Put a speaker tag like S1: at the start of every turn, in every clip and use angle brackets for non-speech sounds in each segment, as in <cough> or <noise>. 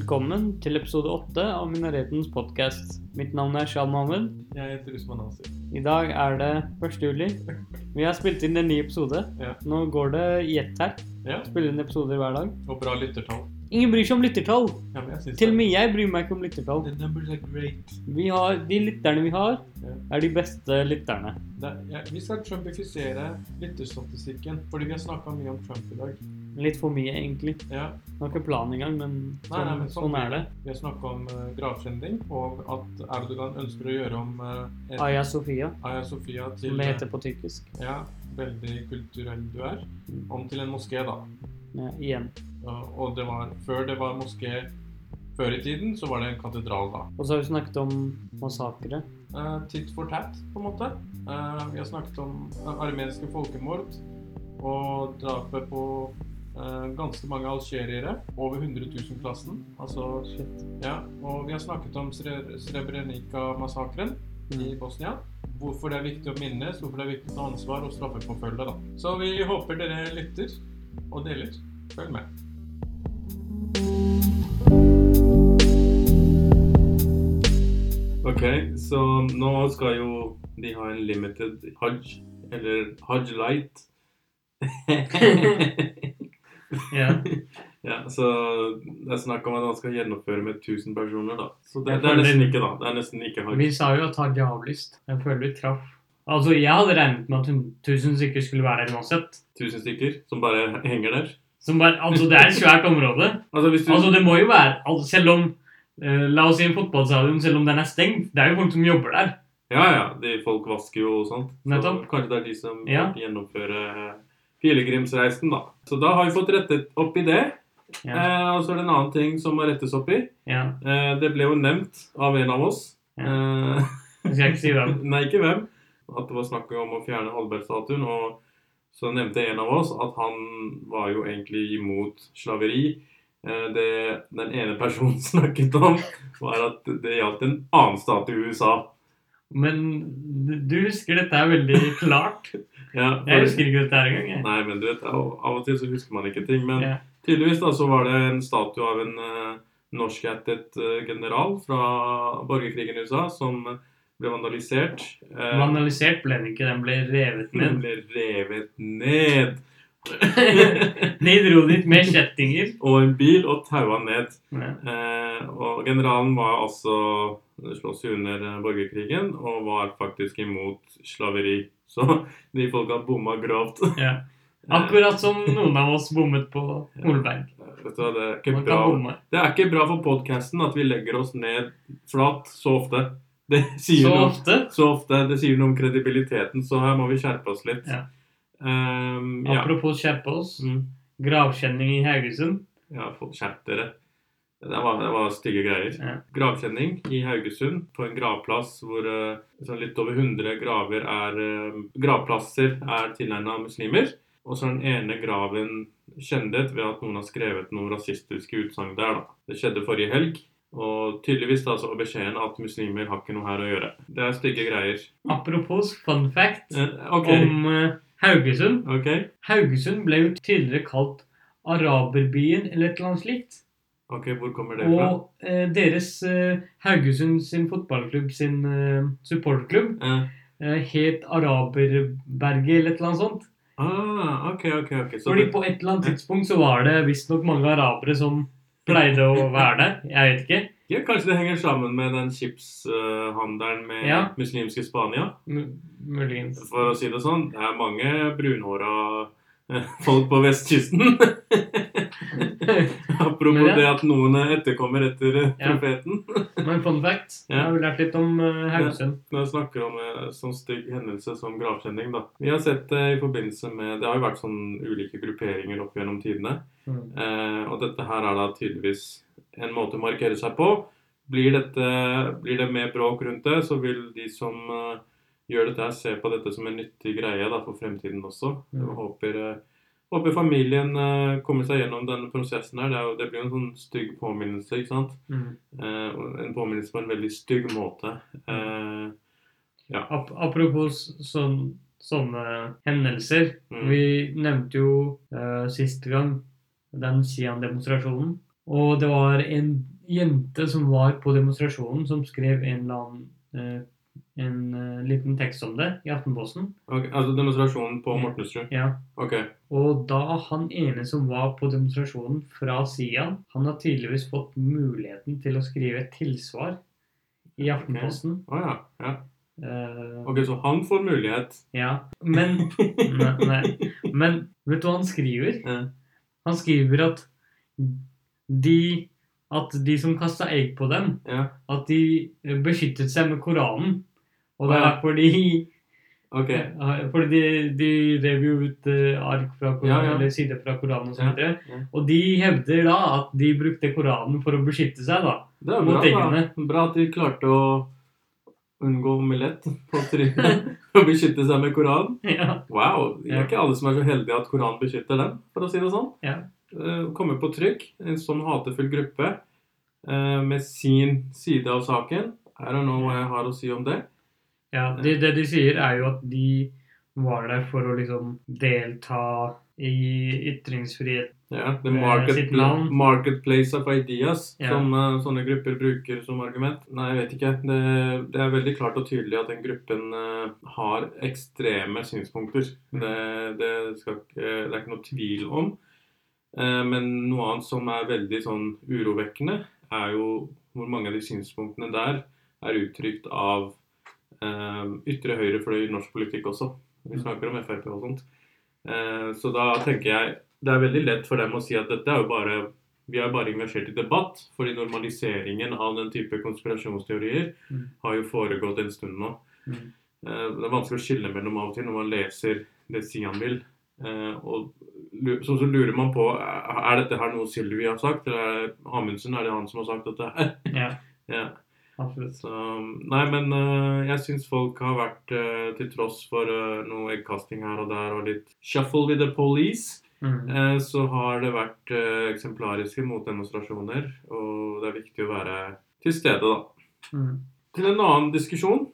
S1: til episode åtte av Minaretens podkast. Mitt navn er Shal Mohammed.
S2: Jeg heter Usman Asif.
S1: I dag er det 1. juli. Vi har spilt inn en ny episode.
S2: Ja.
S1: Nå går det i ett her.
S2: Ja,
S1: Spiller inn episoder hver dag.
S2: og bra lyttertall.
S1: Ingen bryr seg om lyttertall.
S2: Ja, men jeg synes
S1: Til og
S2: det.
S1: med jeg bryr meg ikke om lyttertall.
S2: The numbers are great.
S1: Vi har, de lytterne vi har,
S2: Ja.
S1: er de beste lytterne.
S2: Det er, ja, vi skal trumpifisere lytterstatistikken, fordi vi har snakket mye om Trump i dag.
S1: Litt for mye, egentlig.
S2: Ja,
S1: Det var ikke planen engang, men
S2: Nei, nei,
S1: sånn,
S2: men sånn
S1: sånn er det.
S2: vi har snakket om uh, gravskjending, og at Erdogan ønsker å gjøre om eh, et-
S1: Aya Sofia,
S2: Aya Sofia til...
S1: som det heter på tyrkisk.
S2: Ja, veldig kulturell du er. Om til en moské, da.
S1: Ja, igjen.
S2: Og- og det var, før det var moské før i tiden, så var det en katedral, da.
S1: Og så har vi snakket om massakre.
S2: Eh, tit for tat, på en måte. Eh, vi har snakket om eh, armenske folkemord og drapet på eh, ganske mange algeriere. Over 100 000-klassen. Altså,
S1: Shit.
S2: ja. Og vi har snakket om Sre- Srebrenica-massakren i
S1: Mm.
S2: Bosnia. Hvorfor det er viktig å minnes, hvorfor det er viktig å ta ansvar og straffeforfølge. da. Så vi håper dere lytter og deler. Følg med.
S3: Ok, så nå skal jo de ha en limited hajj, eller hajj light. <laughs>
S1: Ja.
S3: ja, så det er snakk om at han skal gjennomføre med 1000 personer, da. Så det,
S1: Jeg
S3: det er
S1: føler-
S3: nesten ikke, da. Det er nesten ikke hajj.
S1: Vi sa jo at Hadia avlyst. Jeg føler vi traff. Altså, jeg hadde regnet med at 1000 stykker skulle være her uansett.
S3: 1000 stykker som bare henger der.
S1: Som bare, altså, det er et svært område.
S3: Altså, hvis du
S1: Altså, det må jo være altså, Selv om eh, La oss si en fotballstadion, selv om den er stengt. Det er jo folk som jobber der.
S3: Ja, ja. De, folk vasker jo og sånt. Så
S1: Nettopp.
S3: Kanskje det er de som
S1: Ja.
S3: gjennomfører pilegrimsreisen, da. Så da har vi fått rettet opp i det.
S1: Ja.
S3: Eh, og så er det en annen ting som må rettes opp i.
S1: Ja.
S3: Eh, Det ble jo nevnt av en av oss. Eh,
S1: Jeg skal ikke si hvem.
S3: Nei, ikke hvem. At det var snakk om å fjerne Holberg-statuen. Og så nevnte en av oss at han var jo egentlig imot slaveri. Eh, Det den ene personen <laughs> snakket om, var at det gjaldt en annen statue i USA.
S1: Men du- du husker dette er veldig klart.
S3: Ja,
S1: Jeg
S3: for-
S1: husker ikke dette her engang. jeg.
S3: Nei, men du vet, av av og til så husker man ikke ting. Men
S1: Ja.
S3: tydeligvis da, så var det en statue av en eh, norskættet eh, general fra borgerkrigen i USA som ble vandalisert. Eh,
S1: Vandalisert ble den ikke. Den ble revet
S3: Den
S1: ned. <laughs>
S3: ble revet ned.
S1: De dro dit med kjettinger.
S3: og en bil og taua ned.
S1: Ja.
S3: Eh, og generalen var altså slåss jo under eh, borgerkrigen og var faktisk imot slaveri. <laughs> Så de folka bomma grovt.
S1: <laughs> Ja. Akkurat som noen av oss bommet på Holberg.
S3: Eh, Vet du, hva, det, er ikke
S1: Man
S3: bra.
S1: kan bomme.
S3: det er ikke bra for podkasten at vi legger oss ned flat så ofte. <laughs> Det sier
S1: Så
S3: noe
S1: ofte
S3: så ofte. Det sier noe om kredibiliteten, så her må vi skjerpe oss litt.
S1: Ja.
S3: Ehm, ja.
S1: Apropos skjerpe oss.
S3: Mm.
S1: Gravkjenning i Haugesund.
S3: Ja, folk skjerp dere. Det var, det var stygge greier.
S1: Ja.
S3: Gravkjenning i Haugesund, på en gravplass hvor eh, sånn litt over 100 graver er, eh, gravplasser er tilnærma muslimer. Og så er den ene graven kjendet ved at noen har skrevet noen rasistiske utsagn der. da. Det skjedde forrige helg. Og tydeligvis da så var beskjeden at muslimer har ikke noe her å gjøre. Det er stygge greier.
S1: Apropos fun fact
S3: Eh, OK.
S1: om eh, Haugesund.
S3: ok.
S1: Haugesund ble jo tidligere kalt araberbyen eller et eller annet slikt.
S3: Ok, Hvor kommer det fra?
S1: Og eh, deres eh, Haugesund sin fotballklubb sin eh, supporterklubb
S3: Eh,
S1: eh, het Araberberget eller et eller annet sånt.
S3: ah, ok, ok. ok. Så
S1: Fordi
S3: det-
S1: på et eller annet tidspunkt så var det visstnok mange arabere som pleide å være der. Jeg vet ikke.
S3: Ja, Kanskje det henger sammen med den chipshandelen med
S1: Ja.
S3: muslimske Spania.
S1: M-
S3: <laughs>
S1: Muligens.
S3: For å si det sånn, det er mange brunhåra eh, folk på vestkysten. <laughs> Apropos
S1: Men ja.
S3: det at noen etterkommer etter eh,
S1: Ja.
S3: profeten.
S1: Men fun fact.
S3: Ja.
S1: Jeg har lært litt om eh, Haugesund.
S3: Når jeg snakker om en sånn stygg hendelse som gravkjenning, da. Vi har sett det i forbindelse med Det har jo vært sånn ulike grupperinger opp gjennom tidene.
S1: Mm.
S3: Eh, og dette her er da tydeligvis en måte å markere seg på. Blir, dette, blir det mer bråk rundt det, så vil de som eh, gjør dette her, se på dette som en nyttig greie da, for fremtiden også.
S1: Mm.
S3: Jeg håper, eh, håper familien eh, kommer seg gjennom denne prosessen her. Det, er jo, det blir jo en sånn stygg påminnelse, ikke sant?
S1: Mm.
S3: Eh, og en påminnelse på en veldig stygg måte. Eh,
S1: Ap apropos sånn, sånne hendelser.
S3: Mm.
S1: Vi nevnte jo eh, siste gang den Sian-demonstrasjonen. Og det var en jente som var på demonstrasjonen, som skrev en eller annen eh, en eh, liten tekst om det i Aftenposten.
S3: Ok, altså demonstrasjonen på
S1: Ja.
S3: Mortensrud.
S1: Ja.
S3: Ok.
S1: Og da han ene som var på demonstrasjonen fra Sian, han har tydeligvis fått muligheten til å skrive et tilsvar i Aftenposten.
S3: Å ja. ja.
S1: Eh,
S3: Ok, så han får mulighet.
S1: Ja, men nei, nei. Men vet du hva han skriver?
S3: Ja.
S1: Han skriver at de, at de som kasta egg på dem,
S3: Ja.
S1: at de beskyttet seg med Koranen. Og det
S3: Å,
S1: er
S3: ja.
S1: fordi,
S3: Ok.
S1: fordi de, de rev jo ut eh, ark fra Koranen,
S3: Ja, ja.
S1: eller sider fra Koranen og så
S3: Ja,
S1: videre.
S3: ja.
S1: Og de hevder da at de brukte Koranen for å beskytte seg, da.
S3: Det er
S1: Mot
S3: bra, da.
S1: eggene.
S3: bra at de klarte å unngå omelett på
S1: <laughs>
S3: trynet og beskytte seg med Koran.
S1: Ja.
S3: Wow. Det
S1: Ja.
S3: er ikke alle som er så heldige at Koran beskytter dem, for å si det sånn.
S1: Ja.
S3: Eh, Komme på trykk, en sånn hatefull gruppe eh, med sin side av saken. I don't know hva jeg har å si om det.
S1: Ja, de, det de sier er jo at de var der for å liksom delta i ytringsfrihet.
S3: Ja, the
S1: Eh,
S3: market,
S1: sitt navn.
S3: marketplace of ideas,
S1: Ja.
S3: som eh, sånne grupper bruker som argument. Nei, jeg vet ikke. Det, det er veldig klart og tydelig at den gruppen eh, har ekstreme synspunkter. Det, det, skal, ikke- det er ikke noe tvil om. Eh, men noe annet som er veldig sånn urovekkende, er jo hvor mange av de synspunktene der er uttrykt av eh, ytre høyrefløy i norsk politikk også. Vi snakker om Frp og sånt. Eh, så da tenker jeg det er veldig lett for dem å si at dette er jo bare vi er bare engasjert i debatt, fordi normaliseringen av den type konspirasjonsteorier
S1: Mm.
S3: har jo foregått en stund nå.
S1: Mm.
S3: Eh, Det er vanskelig å skille mellom av og til når man leser det Sian vil. Eh, Og lu- sånn så lurer man på er er dette her noe Sylvi har sagt, eller er det Amundsen? Er det han som har sagt dette her?
S1: <laughs> Ja,
S3: Ja.
S1: absolutt.
S3: Så, nei, men eh, jeg syns folk har vært, eh, til tross for eh, noe eggkasting her og der og litt shuffle with the police,
S1: Mm.
S3: Eh, så har det vært eh, eksemplariske motdemonstrasjoner, og det er viktig å være til stede, da.
S1: Mm.
S3: Til en annen diskusjon.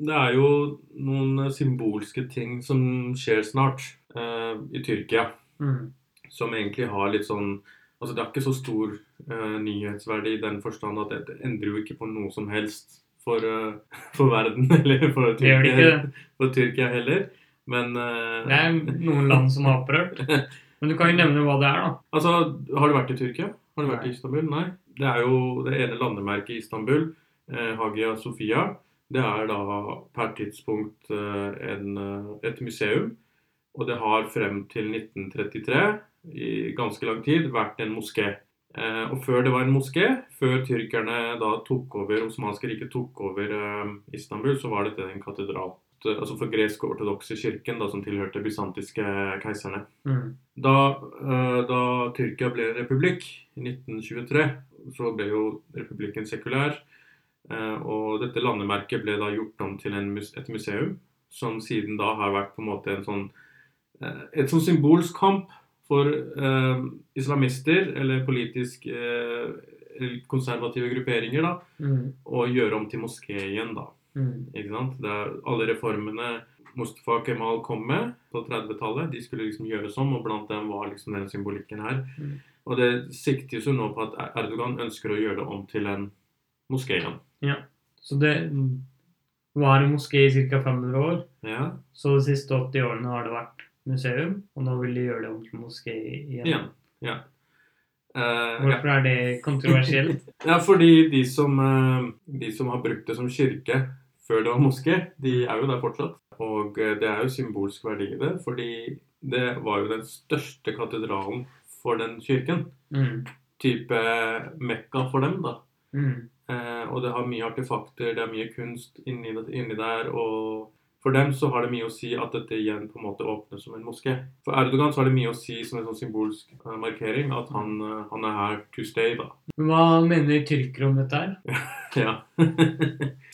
S3: Det er jo noen eh, symbolske ting som skjer snart eh, i Tyrkia,
S1: Mm.
S3: som egentlig har litt sånn Altså, det er ikke så stor eh, nyhetsverdi i den forstand at det, det endrer jo ikke på noe som helst for, eh, for verden, <laughs> eller for
S1: Det gjør det
S3: Tyrkia,
S1: ikke. det.
S3: for Tyrkia heller. Men eh,
S1: Det er noen land som har opprørt. Men du kan jo nevne hva det er, da.
S3: Altså, Har du vært i Tyrkia? Har du vært
S1: Nei.
S3: i Istanbul? Nei. Det er jo det ene landemerket i Istanbul, eh, Hagia Sofia. Det er da per tidspunkt eh, en, eh, et museum. Og det har frem til 1933, i ganske lang tid, vært en moské. Eh, og før det var en moské, før tyrkerne da tok over, Osmanske riket tok over eh, Istanbul, så var dette en katedral. Altså for gresk-ortodokse kirken, da, som tilhørte bysantiske keiserne.
S1: Mm.
S3: Da, eh, da Tyrkia ble en republikk i 1923, så ble jo republikken sekulær. eh, Og dette landemerket ble da gjort om til en, mus- et museum, som siden da har vært på en måte en sånn eh, et sånn symbolsk kamp for eh, islamister, eller politisk eh, eller konservative grupperinger, da,
S1: Mm.
S3: å gjøre om til moské igjen, da.
S1: Mm.
S3: Ikke sant? Det er alle reformene Mustafa Kemal kom med på 30-tallet, de skulle liksom gjøres om, og blant dem var liksom den symbolikken her.
S1: Mm.
S3: Og det siktes jo nå på at Erdogan ønsker å gjøre det om til en moské igjen.
S1: Så det mm, var en moské i ca. 500 år.
S3: Ja,
S1: Så de siste 80 årene har det vært museum, og nå vil de gjøre det om til moské igjen.
S3: igjen. Ja. Eh, ja.
S1: Hvorfor er det kontroversielt?
S3: ja, fordi de som, eh, de som har brukt det som kirke før det var moské, de er jo der fortsatt. Og eh, det er jo symbolsk verdi i det, fordi det var jo den største katedralen for den kirken.
S1: Mm.
S3: type eh, mekka for dem, da.
S1: Mm.
S3: Eh, og det har mye artefakter, det er mye kunst inni, inni der, og for dem så har det mye å si at dette igjen på en måte åpnes som en moské. For Erdogan så har det mye å si som en sånn symbolsk eh, markering at han, eh, han er her to stay, da. <laughs>
S1: Hva mener tyrkere om dette her?
S3: Ja. <laughs>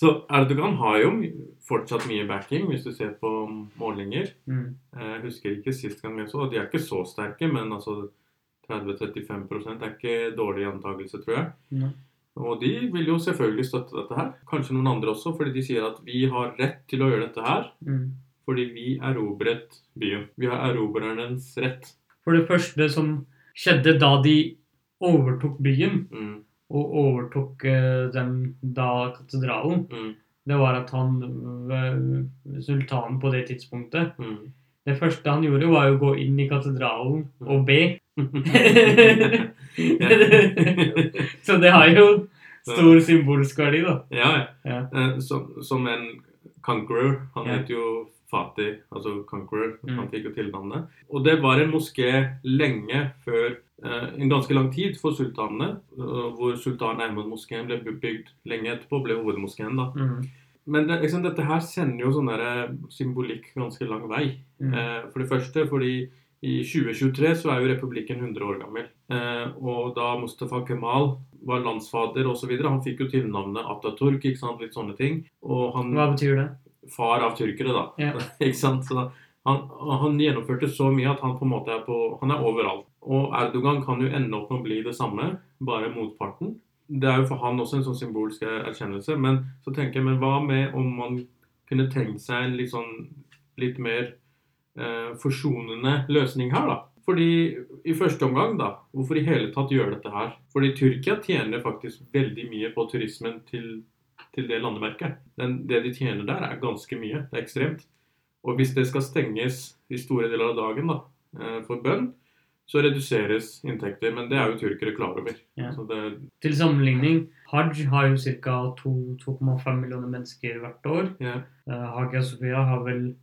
S3: så Erdogan har jo my- fortsatt mye backing, hvis du ser på målinger.
S1: Mm.
S3: Eh, Jeg husker ikke sist gang jeg så, og de er ikke så sterke, men altså 30-35 er ikke dårlig antakelse, tror jeg.
S1: Nei.
S3: Og de vil jo selvfølgelig støtte dette her. Kanskje noen andre også, fordi de sier at vi har rett til å gjøre dette her
S1: Mm.
S3: fordi vi erobret byen. Vi har erobrernes rett.
S1: For det første som skjedde da de overtok byen,
S3: Mm.
S1: og overtok eh, den da katedralen,
S3: Mm.
S1: det var at han, eh, sultanen på det tidspunktet
S3: Mm. <laughs>
S1: Det første han gjorde, var jo å gå inn i katedralen og be. <laughs> Så det har jo stor symbolsk verdi, da.
S3: Ja, ja.
S1: Ja.
S3: Eh, Som, som en conqueror. Han
S1: Ja.
S3: het jo Fatih, altså conqueror. Han
S1: Mm.
S3: fikk jo tilnavnet. Og det var en moské lenge før eh, En ganske lang tid for sultanene, eh, hvor sultan Ahmad-moskeen ble bygd lenge etterpå, ble hovedmoskeen, da.
S1: Mm.
S3: Men det, liksom, dette her sender jo sånn der symbolikk ganske lang vei.
S1: Mm.
S3: Eh, For det første fordi i 2023 så er jo republikken 100 år gammel. Eh, Og da Mustafa Kemal var landsfader osv., han fikk jo tilnavnet Ataturk, ikke sant? litt sånne ting. Og han
S1: Hva betyr det?
S3: far av tyrkere, da.
S1: Ja.
S3: <laughs> ikke sant? Så han, han gjennomførte så mye at han på en måte er på Han er overalt. Og Erdogan kan jo ende opp med å bli det samme, bare motparten. Det er jo for han også en sånn symbolsk erkjennelse. Men så tenker jeg, men hva med om man kunne tenkt seg en litt sånn litt mer eh, forsonende løsning her, da? Fordi i første omgang, da, hvorfor i hele tatt gjøre dette her? Fordi Tyrkia tjener faktisk veldig mye på turismen til til det landemerket. Den, det de tjener der, er ganske mye. Det er ekstremt. Og hvis det skal stenges i store deler av dagen da, eh, for bønn, så reduseres inntekter. Men det er jo tyrkere klar over.
S1: Ja.
S3: Så det,
S1: Til sammenligning, Hajj har jo ca. 2,5 millioner mennesker hvert år.
S3: ja,
S1: Eh, Hagia Sofia har vel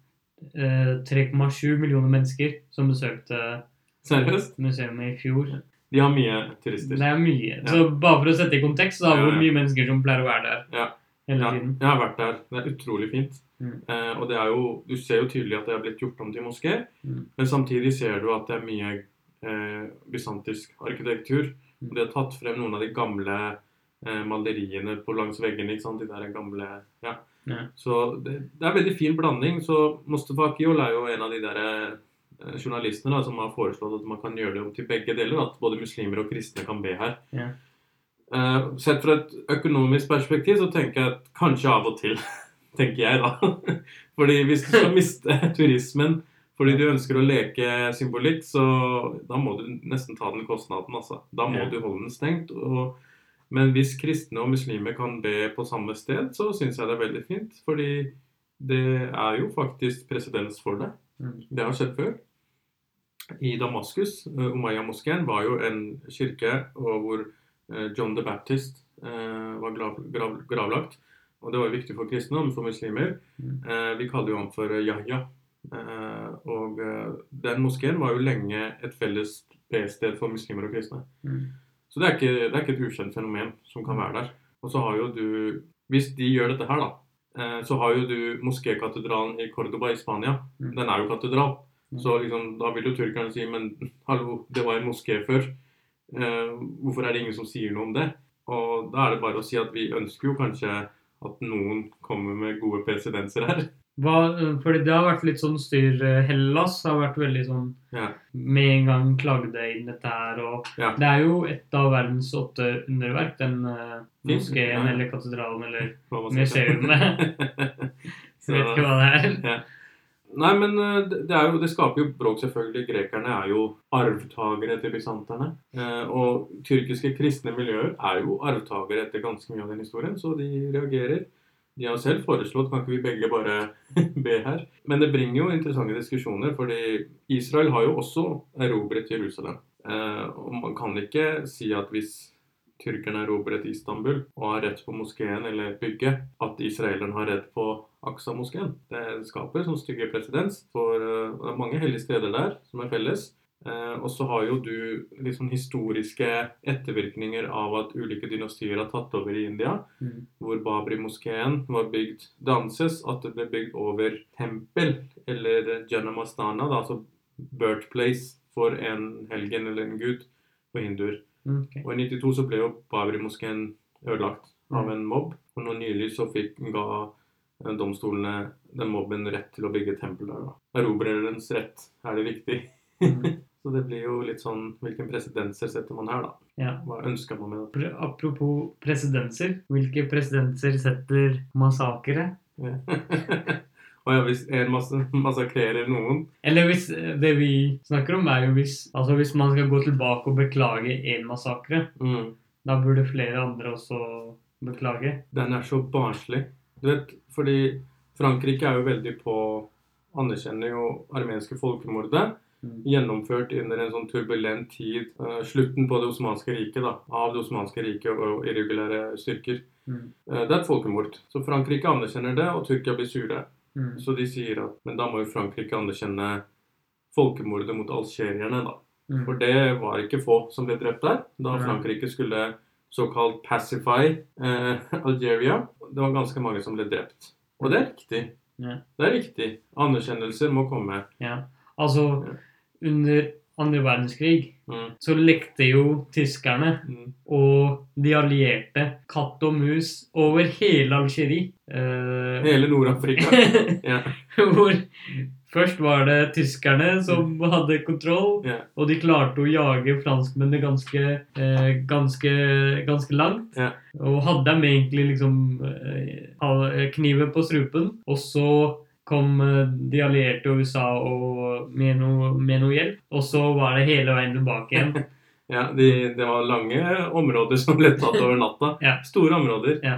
S1: eh, 3,7 millioner mennesker som besøkte
S3: seriøst?
S1: museet i fjor.
S3: De har mye turister.
S1: Det er mye. Så bare for å sette i kontekst, så har
S3: Ja,
S1: hvor
S3: ja.
S1: mye mennesker som pleier å være der
S3: Ja.
S1: hele
S3: Ja,
S1: tiden.
S3: jeg har vært der. Det er utrolig fint.
S1: Mm.
S3: Eh, og det er jo, du ser jo tydelig at det er blitt gjort om til moské,
S1: Mm.
S3: men samtidig ser du at det er mye eh, bysantisk arkitektur.
S1: Mm.
S3: De har tatt frem noen av de gamle eh, maleriene på langs veggene, ikke sant? De der gamle, ja.
S1: Ja.
S3: Så det, det er en veldig fin blanding. Så Mustafa Akil er jo en av de der eh, journalistene da, som har foreslått at man kan gjøre det om til begge deler, at både muslimer og kristne kan be her.
S1: Ja.
S3: Eh, sett fra et økonomisk perspektiv så tenker jeg at kanskje av og til, <laughs> tenker jeg da. <laughs> Fordi hvis
S1: <laughs>
S3: du skal miste turismen fordi du ønsker å leke symbolikk, så da må du nesten ta den kostnaden, altså. Da må
S1: Ja.
S3: du holde den stengt. Og, men hvis kristne og muslimer kan be på samme sted, så syns jeg det er veldig fint. Fordi det er jo faktisk presedens for det.
S1: Mm.
S3: Det har skjedd før. I Damaskus, Umayya-moskeen, var jo en kirke og hvor eh, John the Baptist eh, var grav, grav, gravlagt. Og det var jo viktig for kristne og for muslimer.
S1: Mm.
S3: Eh, Vi kaller jo ham for Yahya. Eh, Og eh, den moskeen var jo lenge et felles bested for muslimer og kristne.
S1: Mm.
S3: Så det er, ikke, det er ikke et ukjent fenomen som kan være der. Og så har jo du Hvis de gjør dette her, da, eh, så har jo du moskékatedralen i Cordoba i Spania.
S1: Mm.
S3: Den er jo katedral.
S1: Mm.
S3: Så liksom, da vil jo tyrkerne si Men <laughs> hallo, det var en moské før. Eh, hvorfor er det ingen som sier noe om det? Og da er det bare å si at vi ønsker jo kanskje at noen kommer med gode presidenser her. <laughs>
S1: Hva, fordi det har vært litt sånn styr eh, Hellas har vært veldig sånn
S3: Ja.
S1: Med en gang klagde inn dette her og
S3: Ja.
S1: Det er jo et av verdens åtte underverk, den eh,
S3: Fint.
S1: moskeen
S3: Ja.
S1: eller katedralen eller
S3: Hva man skal si. <laughs>
S1: Jeg vet ikke hva det er.
S3: Nei, men eh, det, det er jo, det skaper jo bråk, selvfølgelig. Grekerne er jo arvtakere til bysanterne. Eh, Og tyrkiske kristne miljøer er jo arvtakere etter ganske mye av den historien, så de reagerer. De har selv foreslått kan ikke vi begge bare <laughs> be her. Men det bringer jo interessante diskusjoner, fordi Israel har jo også erobret Jerusalem. Eh, Og man kan ikke si at hvis tyrkerne erobret Istanbul og har rett på moskeen eller bygget, at israeleren har rett på Aksa-moskeen. Det skaper sånn stygge presedens, for eh, det er mange hellige steder der som er felles. Eh, og så har jo du litt sånn historiske ettervirkninger av at ulike dynastier har tatt over i India
S1: Mm.
S3: hvor Babri-moskeen var bygd. Det anses at det ble bygd over tempel, eller Janamastana, da, altså birthplace for en helgen eller en gud for hinduer.
S1: Ok.
S3: Og i 92 så ble jo Babri-moskeen ødelagt av en mobb, og nå nylig så fikk ga eh, domstolene den mobben rett til å bygge et tempel der. da. Erobrerens rett er det viktig.
S1: Mm.
S3: Så det blir jo litt sånn Hvilken presedenser setter man her, da?
S1: Ja.
S3: Hva ønsker man med det?
S1: Pre- Apropos presidenser. Hvilke presidenser setter massakre?
S3: <laughs> Å ja, hvis en masse massakrerer noen
S1: Eller hvis eh, det vi snakker om, er jo hvis, altså hvis man skal gå tilbake og beklage én massakre.
S3: mm.
S1: Da burde flere andre også beklage.
S3: Den er så barnslig. Du vet, fordi Frankrike er jo veldig på Anerkjenner jo armenske folkemordet.
S1: Mm.
S3: Gjennomført under en sånn turbulent tid. eh, slutten på det osmanske riket, da. Av det osmanske riket og irregulære styrker.
S1: Mm.
S3: Eh, det er et folkemord. Så Frankrike anerkjenner det, og Tyrkia blir sure.
S1: Mm.
S3: Så de sier at Men da må jo Frankrike anerkjenne folkemordet mot algerierne, da. For
S1: Mm.
S3: det var ikke få som ble drept der, da
S1: Nei.
S3: Frankrike skulle såkalt pacify eh, <laughs> Algeria. Det var ganske mange som ble drept. Og det er riktig.
S1: Ja.
S3: Det er riktig. Anerkjennelser må komme.
S1: Ja. Altså, under andre verdenskrig
S3: Mm.
S1: så lekte jo tyskerne
S3: Mm.
S1: og de allierte katt og mus over hele Algerie. Eh, <laughs>
S3: Hele Nord-Afrika. Ja.
S1: hvor først var det tyskerne som hadde kontroll,
S3: Mm. Ja.
S1: og de klarte å jage franskmennene ganske, eh, ganske, ganske langt.
S3: Ja.
S1: Og hadde dem egentlig liksom eh, ha- eh, kniven på strupen. Og så kom eh, de allierte og USA og med noe, med noe hjelp, og så var det hele veien tilbake igjen.
S3: <laughs> Ja, de, det var lange områder som ble tatt over natta.
S1: Ja.
S3: Store områder.
S1: Ja.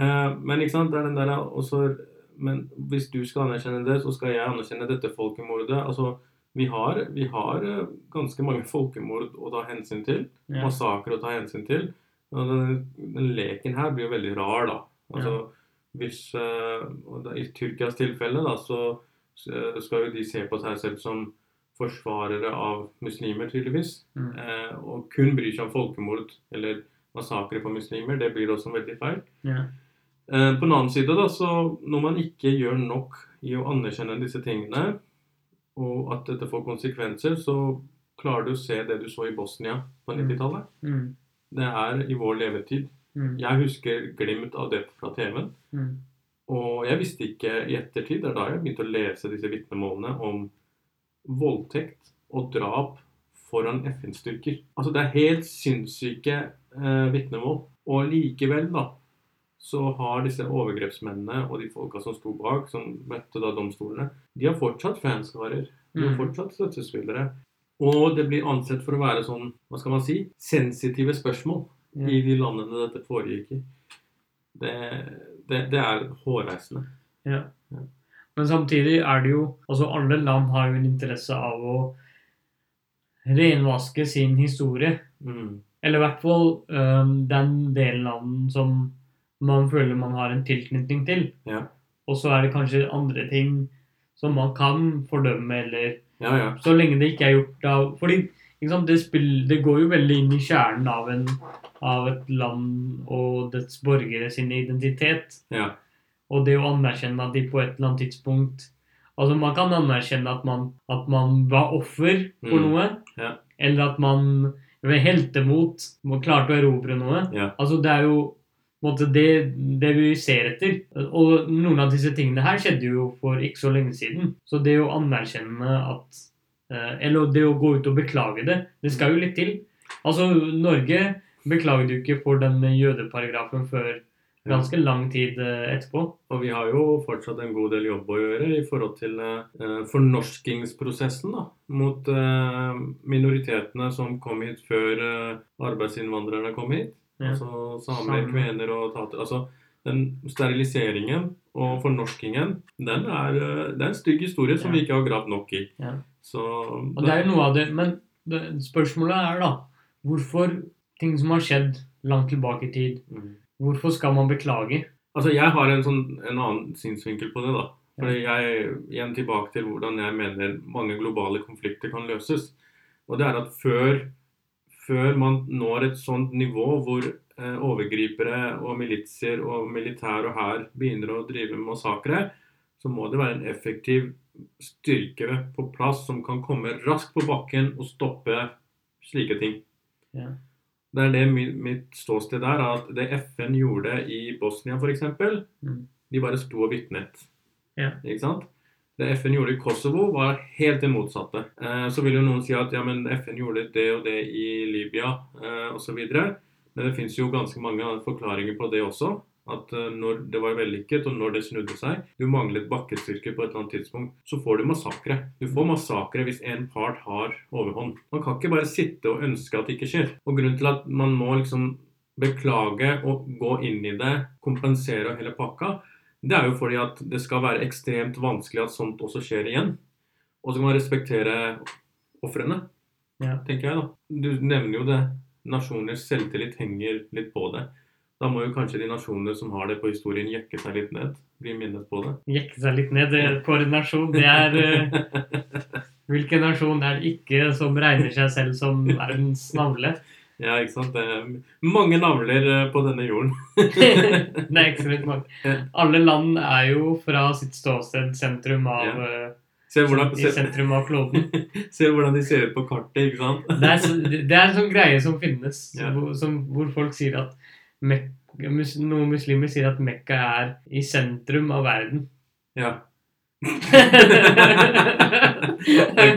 S3: Eh, men ikke sant, det er den der også, Men hvis du skal anerkjenne det, så skal jeg anerkjenne dette folkemordet. Altså, vi har, vi har eh, ganske mange folkemord å ta hensyn til.
S1: Ja.
S3: massakrer å ta hensyn til. Og den, den leken her blir jo veldig rar, da. Altså, hvis, eh, og da I Tyrkias tilfelle da, så så skal jo de se på seg selv som forsvarere av muslimer, tydeligvis.
S1: Mm.
S3: Eh, og kun bryr seg om folkemord eller massakre på muslimer. Det blir også veldig feil.
S1: Ja.
S3: Eh, på den annen side, da, så når man ikke gjør nok i å anerkjenne disse tingene, og at dette får konsekvenser, så klarer du å se det du så i Bosnia på
S1: Mm.
S3: 90-tallet.
S1: Mm.
S3: Det er i vår levetid.
S1: Mm.
S3: Jeg husker glimt av det fra TV-en.
S1: Mm.
S3: Og jeg visste ikke i ettertid, det er da jeg begynte å lese disse vitnemålene om voldtekt og drap foran FN-styrker. Altså det er helt sinnssyke eh, vitnemål. Og likevel, da, så har disse overgrepsmennene og de folka som sto bak, som møtte da domstolene, de har fortsatt fanskarer. De har
S1: Mm.
S3: fortsatt støttespillere. Og det blir ansett for å være sånn, hva skal man si, sensitive spørsmål
S1: Mm. Ja.
S3: i de landene dette foregikk i. Det, det, det er hårreisende.
S1: Men samtidig er det jo Altså, alle land har jo en interesse av å renvaske sin historie.
S3: Mm.
S1: Eller i hvert fall øhm, den delen av den som man føler man har en tilknytning til.
S3: Ja.
S1: Og så er det kanskje andre ting som man kan fordømme, eller
S3: Ja, ja.
S1: Så lenge det ikke er gjort av Fordi ikke sant, det, spill, det går jo veldig inn i kjernen av, en, av et land og dets borgere sin identitet.
S3: ja.
S1: Og det å anerkjenne at de på et eller annet tidspunkt Altså man kan anerkjenne at man, at man var offer for
S3: Mm,
S1: noe.
S3: ja.
S1: Eller at man ved heltemot må- klarte å erobre noe.
S3: Ja.
S1: Altså det er jo på en måte, det, det vi ser etter. Og noen av disse tingene her skjedde jo for ikke så lenge siden. Så det å anerkjenne at eh, Eller det å gå ut og beklage det, det skal jo litt til. Altså, Norge beklaget jo ikke for den jødeparagrafen før ganske lang tid eh, etterpå.
S3: Og vi har jo fortsatt en god del jobb å gjøre i forhold til eh, fornorskingsprosessen da, mot eh, minoritetene som kom hit før eh, arbeidsinnvandrerne kom hit.
S1: Ja.
S3: Altså samer,
S1: Samer.
S3: kvener og tater. Altså den steriliseringen og fornorskingen, den er, eh, det er en stygg historie som
S1: Ja.
S3: vi ikke har gravd nok i.
S1: Ja.
S3: Så
S1: Og det er jo noe av det, men det, spørsmålet er da hvorfor ting som har skjedd langt tilbake i tid,
S3: Mm.
S1: hvorfor skal man beklage?
S3: Altså, jeg har en, sånn, en annen synsvinkel på det, da. Fordi jeg, igjen tilbake til hvordan jeg mener mange globale konflikter kan løses. Og det er at før, før man når et sånt nivå hvor eh, overgripere og militser og militær og hær begynner å drive med massakre, så må det være en effektiv styrke på plass som kan komme raskt på bakken og stoppe slike ting.
S1: Ja.
S3: Det er det mi- mitt ståsted der, er at det FN gjorde i Bosnia f.eks.
S1: Mm.
S3: De bare sto og vitnet.
S1: Ja.
S3: Ikke sant? Det FN gjorde i Kosovo, var helt det motsatte. Eh, så vil jo noen si at ja, men FN gjorde det og det i Libya eh, osv. Men det fins jo ganske mange forklaringer på det også. At eh, når det var vellykket, og når det snudde seg Du manglet bakkestyrke på et eller annet tidspunkt. Så får du massakre. Du får massakre hvis en part har overhånd. Man kan ikke bare sitte og ønske at det ikke skjer. Og grunnen til at man må liksom beklage og gå inn i det, kompensere og hele pakka, det er jo fordi at det skal være ekstremt vanskelig at sånt også skjer igjen. Og så kan man respektere ofrene,
S1: Ja.
S3: tenker jeg da. Du nevner jo det. Nasjoners selvtillit henger litt på det. Da må jo kanskje de nasjonene som har det på historien, jekke seg litt ned. Bli minnet på det.
S1: Jekke seg litt ned. eh, Det- Koordinasjon, det er eh, Hvilken nasjon er det ikke som regner seg selv som verdens navle?
S3: <laughs> Ja, ikke sant? Det er mange navler eh, på denne jorden. <laughs>
S1: <laughs> det er ekstremt mange. Alle land er jo fra sitt ståsted sentrum av, eh,
S3: Se hvordan,
S1: i
S3: se,
S1: sentrum av
S3: <laughs>
S1: kloden.
S3: se hvordan de ser ut på kartet, ikke sant? <laughs>
S1: Det er, så- det er en sånn greie som finnes,
S3: Ja.
S1: hvor, som, hvor folk sier at Mek mus noen muslimer sier at Mekka er i sentrum av
S3: <laughs>
S1: verden.
S3: Ja.
S1: ja,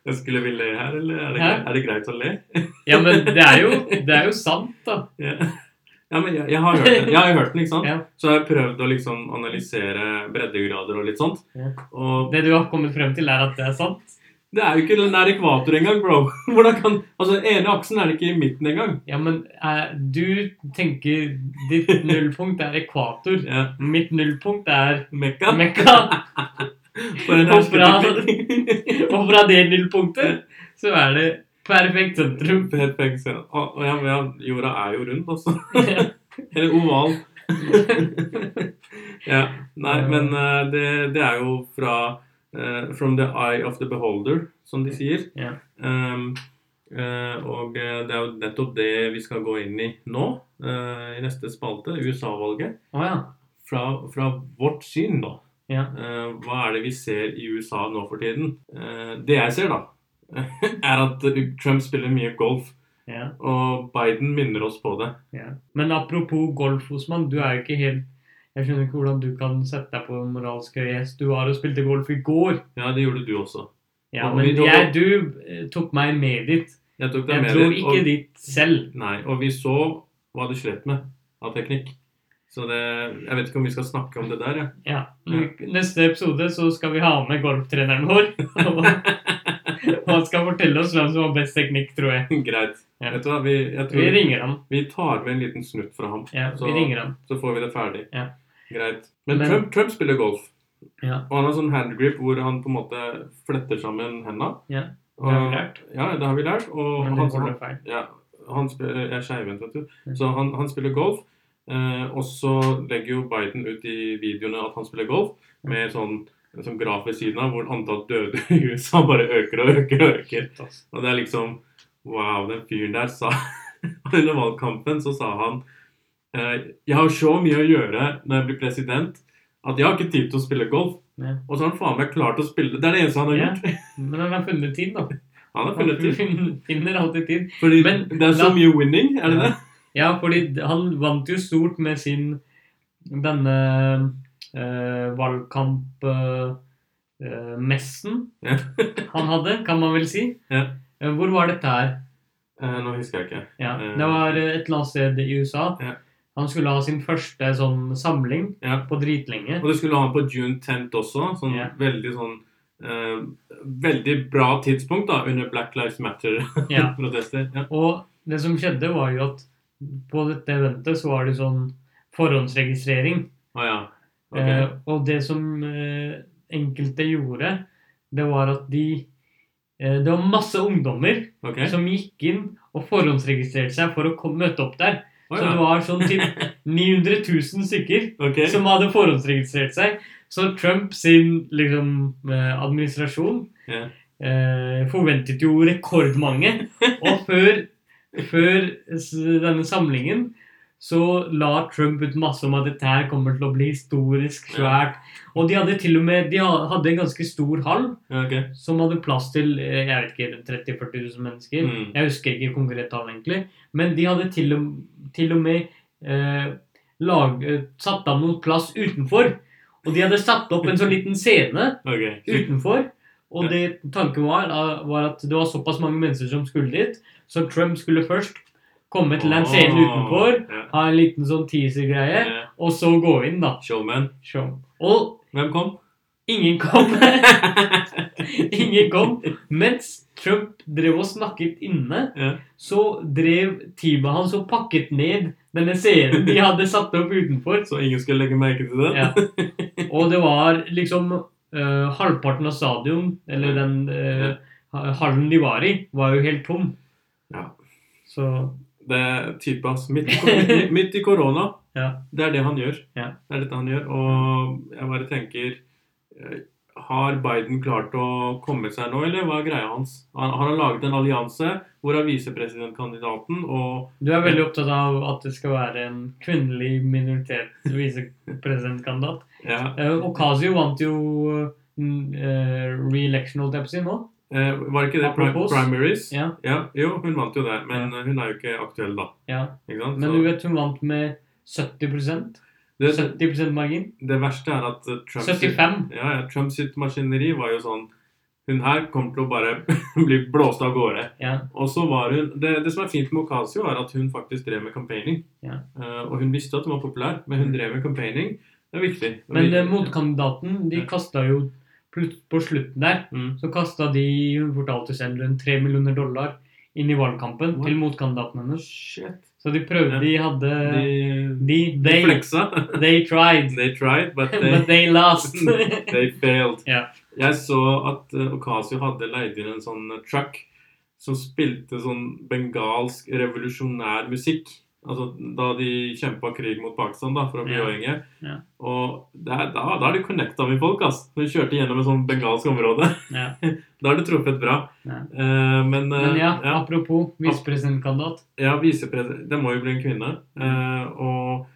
S3: Jeg skulle vi le her, eller er det,
S1: Hæ?
S3: greit- er det greit å le?
S1: men det er, jo, det er jo sant, da.
S3: Ja, <laughs> ja men jeg, jeg har hørt den, jeg har hørt den, ikke sant?
S1: <laughs> Ja.
S3: Så jeg har prøvd å liksom analysere breddegrader og litt sånt.
S1: Ja.
S3: Og
S1: Det du har kommet frem til, er at det er sant.
S3: det er jo ikke nær ekvator engang, bro. <laughs> Hvordan kan, altså Den ene aksen er ikke i midten engang.
S1: Ja, men eh, du tenker ditt nullpunkt er ekvator.
S3: Ja,
S1: Mitt nullpunkt er
S3: Mekka.
S1: Mekka.
S3: For en
S1: Og fra-
S3: <laughs> hersketeknikk.
S1: Og fra det nullpunktet så er det perfekt sentrum.
S3: Perfekt. Ja, og ja, men ja, jorda er jo rund, altså. <laughs> Eller oval. <laughs> ja. Nei, men eh, det, det er jo fra eh, From the eye of the beholder, som de sier.
S1: Ja.
S3: Um, eh, og eh, det er jo nettopp det vi skal gå inn i nå, eh, i neste spalte, USA-valget.
S1: Å ja.
S3: Fra, fra vårt syn, da.
S1: Ja.
S3: Eh, hva er det vi ser i USA nå for tiden? Eh, det jeg ser, da, <laughs> er at Trump spiller mye golf.
S1: ja,
S3: Og Biden minner oss på det.
S1: ja. Men apropos golf, Osman. Du er jo ikke helt Jeg skjønner ikke hvordan du kan sette deg på en moralsk høy hest. Du var og spilte golf i går.
S3: Ja, det gjorde du også.
S1: Ja,
S3: Og vi
S1: men
S3: tok-
S1: jeg, du eh, tok meg med dit.
S3: Jeg tok deg
S1: Jeg
S3: med
S1: tror
S3: dit,
S1: ikke
S3: og,
S1: dit selv.
S3: Nei, og vi så hva du slet med av teknikk. Så det, jeg vet ikke om vi skal snakke om det der, jeg.
S1: Ja. Neste episode så skal vi ha med golftreneren vår. <laughs> Og og han skal fortelle oss hvem som har best teknikk, tror jeg.
S3: <laughs> Greit.
S1: Ja.
S3: Vet du hva, vi, jeg tror
S1: Vi ringer han.
S3: vi tar med en liten snutt fra ham,
S1: Ja,
S3: Så-
S1: vi ringer han.
S3: så får vi det ferdig.
S1: Ja.
S3: Greit. Men,
S1: Men-
S3: Trump, Trump spiller golf.
S1: Ja.
S3: Og han har sånn handgrip hvor han på en måte fletter sammen hendene.
S1: Ja,
S3: Og-
S1: det har vi lært.
S3: Ja, det har vi lært. Og
S1: Men det
S3: han,
S1: går feil.
S3: Ja, han spiller, jeg er skeivhendt, vet du.
S1: Mm.
S3: Så han, han spiller golf. Eh, og så legger jo Biden ut i videoene at han spiller golf, med sånn, en sånn graf ved siden av hvor antall døde i <laughs> USA bare øker og øker og øker.
S1: Shit, ass.
S3: Og det er liksom Wow, den fyren der sa <laughs> Under valgkampen så sa han eh, Jeg har så mye å gjøre når jeg blir president, at jeg har ikke tid til å spille golf.
S1: Ja.
S3: Og så har han faen meg klart å spille Det er det eneste han har
S1: Ja.
S3: gjort. <laughs>
S1: Men han har funnet tid, da.
S3: Han har
S1: Han
S3: funnet <laughs> tid.
S1: fin- finner alltid tid.
S3: Fordi
S1: Men
S3: det er så
S1: la-
S3: mye winning, er det det?
S1: Ja, fordi d- han vant jo stort med sin denne eh, valgkampmessen eh, messen
S3: Ja. <laughs>
S1: han hadde, kan man vel si.
S3: Ja.
S1: Eh, Hvor var dette her?
S3: Eh, nå husker jeg ikke.
S1: Ja,
S3: Eh,
S1: det var eh, et eller annet sted i USA.
S3: Ja.
S1: Han skulle ha sin første sånn samling
S3: Ja.
S1: på dritlenge.
S3: Og du skulle ha den på June 10th også. Sånn
S1: Ja.
S3: veldig sånn eh, Veldig bra tidspunkt da, under Black Lives <laughs>
S1: Ja.
S3: Matter-protester. Ja.
S1: Og det som skjedde, var jo at på dette eventet så var det sånn forhåndsregistrering.
S3: Å ja. Ok.
S1: Eh, og det som eh, enkelte gjorde, det var at de eh, Det var masse ungdommer
S3: ok.
S1: som gikk inn og forhåndsregistrerte seg for å kom, møte opp der.
S3: Å
S1: Så det
S3: ja.
S1: var sånn typ
S3: <laughs>
S1: 900 000 stykker.
S3: Ok.
S1: som hadde forhåndsregistrert seg. Så Trump sin liksom, eh, administrasjon
S3: Ja.
S1: eh, forventet jo rekordmange. Og før, før s- denne samlingen så la Trump ut masse om at dette her kommer til å bli historisk svært. Og de hadde til og med de ha- hadde en ganske stor hall
S3: Ja, ok.
S1: som hadde plass til eh, jeg vet ikke, 30 000-40 000 mennesker.
S3: Mm.
S1: Jeg husker ikke konkret tall, egentlig. Men de hadde til og, til og med eh, lag, eh, satt av noe plass utenfor. Og de hadde satt opp en sånn liten scene
S3: ok.
S1: utenfor. Og det tanken var, eh, var at det var såpass mange mennesker som skulle dit, så Trump skulle først komme til en scene
S3: Åh,
S1: utenfor,
S3: Ja.
S1: ha en liten sånn teaser-greie,
S3: Ah. Ja.
S1: og så gå inn, da.
S3: Showman.
S1: <laughs> Show. Og <laughs>
S3: Hvem kom?
S1: ingen kom. <laughs> Ingen kom. Mens Trump drev og snakket inne,
S3: Ja.
S1: så drev teamet hans og pakket ned denne scenen de hadde satt opp utenfor.
S3: Så ingen skulle legge merke til det?
S1: Ja. Og det var liksom eh, halvparten av stadion, eller den eh, ha- hallen de var i, var jo helt tom.
S3: Ja.
S1: Så
S3: Det er type, ass. Midt,
S1: <laughs>
S3: i kor- midt, midt i korona.
S1: Ja.
S3: Det er det han gjør.
S1: Ja.
S3: Det er dette han gjør. Og jeg bare tenker eh, Har Biden klart å komme seg nå, eller hva er greia hans? Han, han har laget en allianse hvor er visepresidentkandidaten og
S1: du er veldig opptatt av at det skal være en kvinnelig minoritet visepresidentkandidat.
S3: ja,
S1: Uh, Ocasio vant jo mm, eh, re-election, holdt jeg på å si, nå.
S3: eh, Var ikke det pri
S1: Apropos.
S3: primaries?
S1: Ja.
S3: Jo, hun vant jo det. Men eh, hun er jo ikke aktuell, da.
S1: ja.
S3: Ikke sant?
S1: Men
S3: Så
S1: du vet hun vant med 70
S3: det,
S1: 70 margin.
S3: det verste er at eh, Trump
S1: 75.
S3: Ja, ja, Trump sitt maskineri var jo sånn Hun her kommer til å bare <laughs> bli blåst av gårde.
S1: Ja.
S3: Og så var hun, det, det som er fint med Ocasio, er at hun faktisk drev med campaigning.
S1: Ja. Mm.
S3: Eh, og hun visste at hun var populær, men hun drev med campaigning. Det er viktig. Det er
S1: Men
S3: viktig.
S1: eh, motkandidaten, de
S3: Ja.
S1: kasta jo plut- På slutten der
S3: Mm.
S1: så kasta de Hun fortalte selv rundt 3 millioner dollar inn i valgkampen
S3: What?
S1: til motkandidaten hennes.
S3: Shit.
S1: Så de prøvde,
S3: Ja.
S1: de hadde
S3: De,
S1: Eh, De,
S3: de
S1: they,
S3: fleksa. <laughs>
S1: they tried,
S3: They tried, but
S1: <laughs>
S3: they,
S1: but they
S3: <laughs>
S1: lost.
S3: they failed.
S1: Ja.
S3: Jeg så at eh, Ocasio hadde leid inn en sånn eh, truck som spilte sånn bengalsk revolusjonær musikk. Altså da de kjempa krig mot Pakistan da, for å bli
S1: Ja.
S3: uavhengige.
S1: Ja.
S3: Og det er, da, da er de connecta med folk, ass. Når de kjørte gjennom et sånn bengalsk område.
S1: ja.
S3: <laughs> Da har du truffet bra.
S1: Ja.
S3: Eh, men, eh,
S1: Men ja,
S3: ja,
S1: apropos visepresidentkandidat.
S3: ja visepres- Det må jo bli en kvinne. Eh, og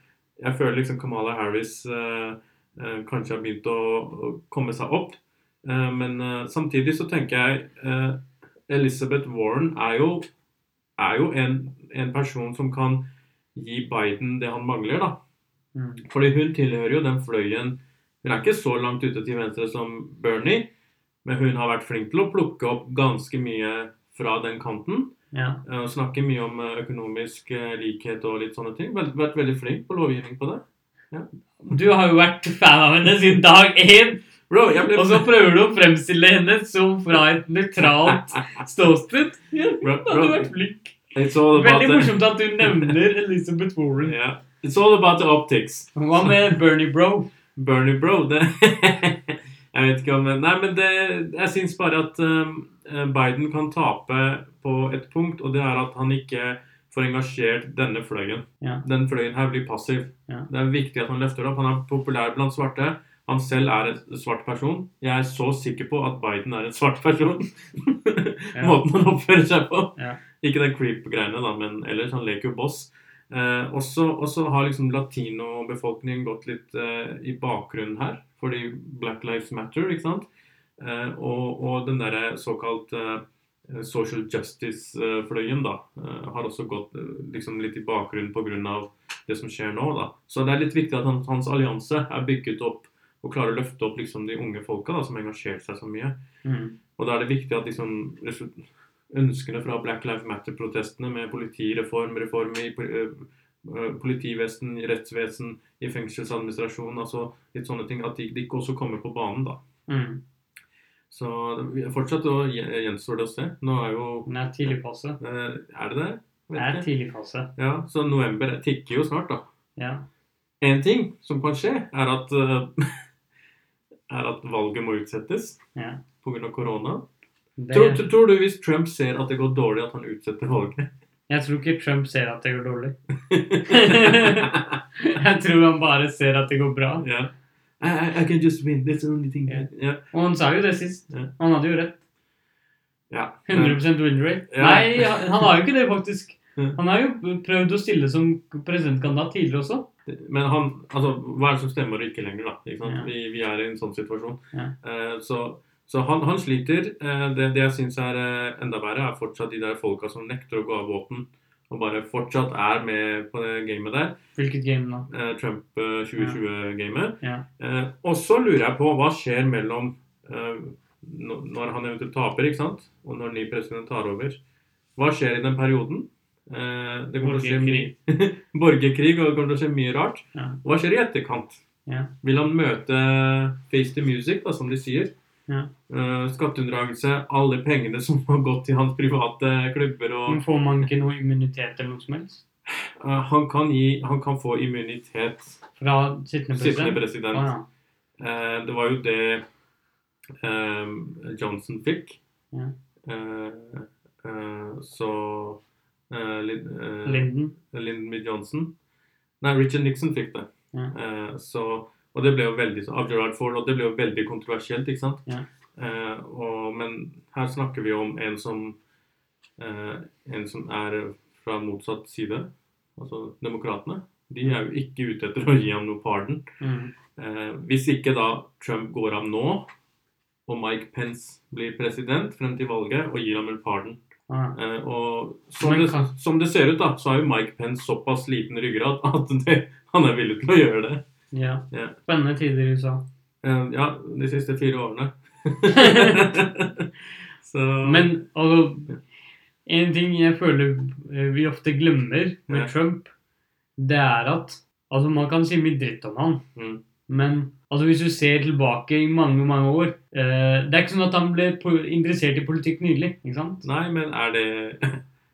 S3: jeg føler liksom Kamala Harris eh, eh, kanskje har begynt å, å komme seg opp. Eh, men eh, samtidig så tenker jeg eh, Elizabeth Warren er jo, er jo en, en person som kan gi Biden det han mangler, da.
S1: Mm.
S3: Fordi hun tilhører jo den fløyen Hun er ikke så langt ute til venstre som Bernie, men hun har vært flink til å plukke opp ganske mye fra den kanten.
S1: Ja.
S3: eh, Og snakker mye om eh, økonomisk eh, likhet og litt sånne ting. Vel- Vært veldig flink på lovgivning på det.
S1: Du har jo vært fan av henne siden dag én,
S3: Bro, jeg ble,
S1: og så prøver du å fremstille henne som fra et nøytralt ståsted. Ja, hun
S3: bro,
S1: hadde
S3: bro,
S1: vært flink.
S3: it's, all about
S1: Veldig
S3: the,
S1: morsomt at du nevner Elizabeth Warren.
S3: yeah. it's all about the optics.
S1: Hva med Bernie Bro?
S3: Bernie bro, det <laughs> Jeg vet ikke om Nei, men det, jeg syns bare at um, Biden kan tape på et punkt, og det er at han ikke får engasjert denne fløyen.
S1: Ja.
S3: Den fløyen her blir passiv.
S1: Ja.
S3: Det er viktig at han løfter det opp. Han er populær blant svarte. Han selv er en svart person. Jeg er så sikker på at Biden er en svart person. <laughs> Måten han oppfører seg på.
S1: Ja.
S3: Ikke den creep-greiene, da, men ellers. Han leker jo boss. Eh, også, også har liksom latinobefolkningen gått litt eh, i bakgrunnen her, fordi Black Lives Matter, ikke sant? Eh, og, og den derre såkalt eh, social justice-fløyen, da, eh, har også gått eh, liksom litt i bakgrunnen pga. det som skjer nå, da. Så det er litt viktig at han, hans allianse er bygget opp og klarer å løfte opp liksom de unge folka da, som har engasjert seg så mye.
S1: Mm.
S3: Og da er det viktig at liksom, resu- ønskene fra Black Lives Matter-protestene med politireform, reform i pol- ø, ø, politivesen, i rettsvesen, i fengselsadministrasjon, altså litt sånne ting, at de, de også kommer på banen, da.
S1: Mm.
S3: Så det- fortsatt å, gje- gjenstår det å se. Nå er jo
S1: Den er tidlig fase.
S3: eh, Er det det?
S1: Det er
S3: Vet ikke.
S1: tidlig fase.
S3: Ja, så november tikker jo snart, da.
S1: Ja.
S3: En ting som kan skje, er at, eh, <laughs> er at valget må utsettes
S1: Ja.
S3: pga. korona.
S1: Det,
S3: Tror, tror- tror du hvis Trump ser at det går dårlig, at han utsetter
S1: <laughs>
S3: valget?
S1: jeg tror ikke Trump ser at det går dårlig.
S3: <laughs>
S1: <laughs> Jeg tror han bare ser at det går bra.
S3: ja. I, I- I can just win. That's the only thing.
S1: Ja.
S3: Ja.
S1: Og han sa jo det sist.
S3: Ja.
S1: Han hadde jo rett.
S3: Ja.
S1: 100 win rate.
S3: Ja.
S1: Nei, han han har jo ikke det, faktisk.
S3: Ja.
S1: Han har jo prøvd å stille som presidentkandidat tidligere også.
S3: Men han, altså, hva er det som stemmer og ikke lenger, da? Ikke sant?
S1: Ja.
S3: Vi, vi er i en sånn situasjon.
S1: Ja.
S3: Eh, så så han, han sliter. Eh, det, det jeg syns er eh, enda verre, er fortsatt de der folka som nekter å gå av våpen. Og bare fortsatt er med på det gamet der.
S1: Hvilket game da?
S3: eh, Trump eh, 2020-gamet.
S1: Ja.
S3: Eh, og så lurer jeg på hva skjer mellom eh, nå- når han eventuelt taper, ikke sant? og når ny president tar over. Hva skjer i den perioden? Eh, det kommer til å skje
S1: Borgerkrig.
S3: mye Borgerkrig, og det kommer til å skje mye rart.
S1: Ja.
S3: Hva skjer i etterkant?
S1: Ja.
S3: eh, Vil han møte Face the Music, da, som de sier?
S1: Ja.
S3: Eh, skatteunndragelse, alle pengene som har gått til hans private klubber og
S1: Men får man ikke noe immunitet eller noe som helst?
S3: Eh, han, kan gi, han kan få immunitet,
S1: Fra sittende
S3: sittende
S1: president?
S3: president.
S1: Å, ja.
S3: Eh, det var jo det eh, Johnson fikk.
S1: Ja.
S3: Eh, eh, så eh, Lin, eh,
S1: Linden?
S3: Lyndon B. Johnson. Nei, Richard Nixon fikk det.
S1: Ja.
S3: Eh, så, og det ble jo veldig av Gerard Ford, og det ble jo veldig kontroversielt, ikke sant?
S1: Ja.
S3: Eh, og, men her snakker vi om en som, eh, en som er fra motsatt side, altså demokratene. De er jo ikke ute etter å gi ham noe pardon.
S1: Mm.
S3: Eh, hvis ikke da Trump går av nå, og Mike Pence blir president frem til valget og gir ham en pardon
S1: Å, ja.
S3: Eh, og som
S1: Men
S3: det,
S1: kan-
S3: som det ser ut, da, så er jo Mike Pence såpass liten ryggrad <laughs> at det, han er villig til å gjøre det.
S1: ja.
S3: Ja.
S1: Spennende tider i USA.
S3: Eh, ja, de siste fire årene. <laughs> så
S1: Men altså, en ting jeg føler eh, vi ofte glemmer med
S3: Ja.
S1: Trump, det er at altså, man kan si mye dritt om han,
S3: Mm.
S1: men altså, hvis du ser tilbake i mange, mange år eh, Det er ikke sånn at han ble po interessert i politikk nylig, ikke sant?
S3: Nei, men er det Jeg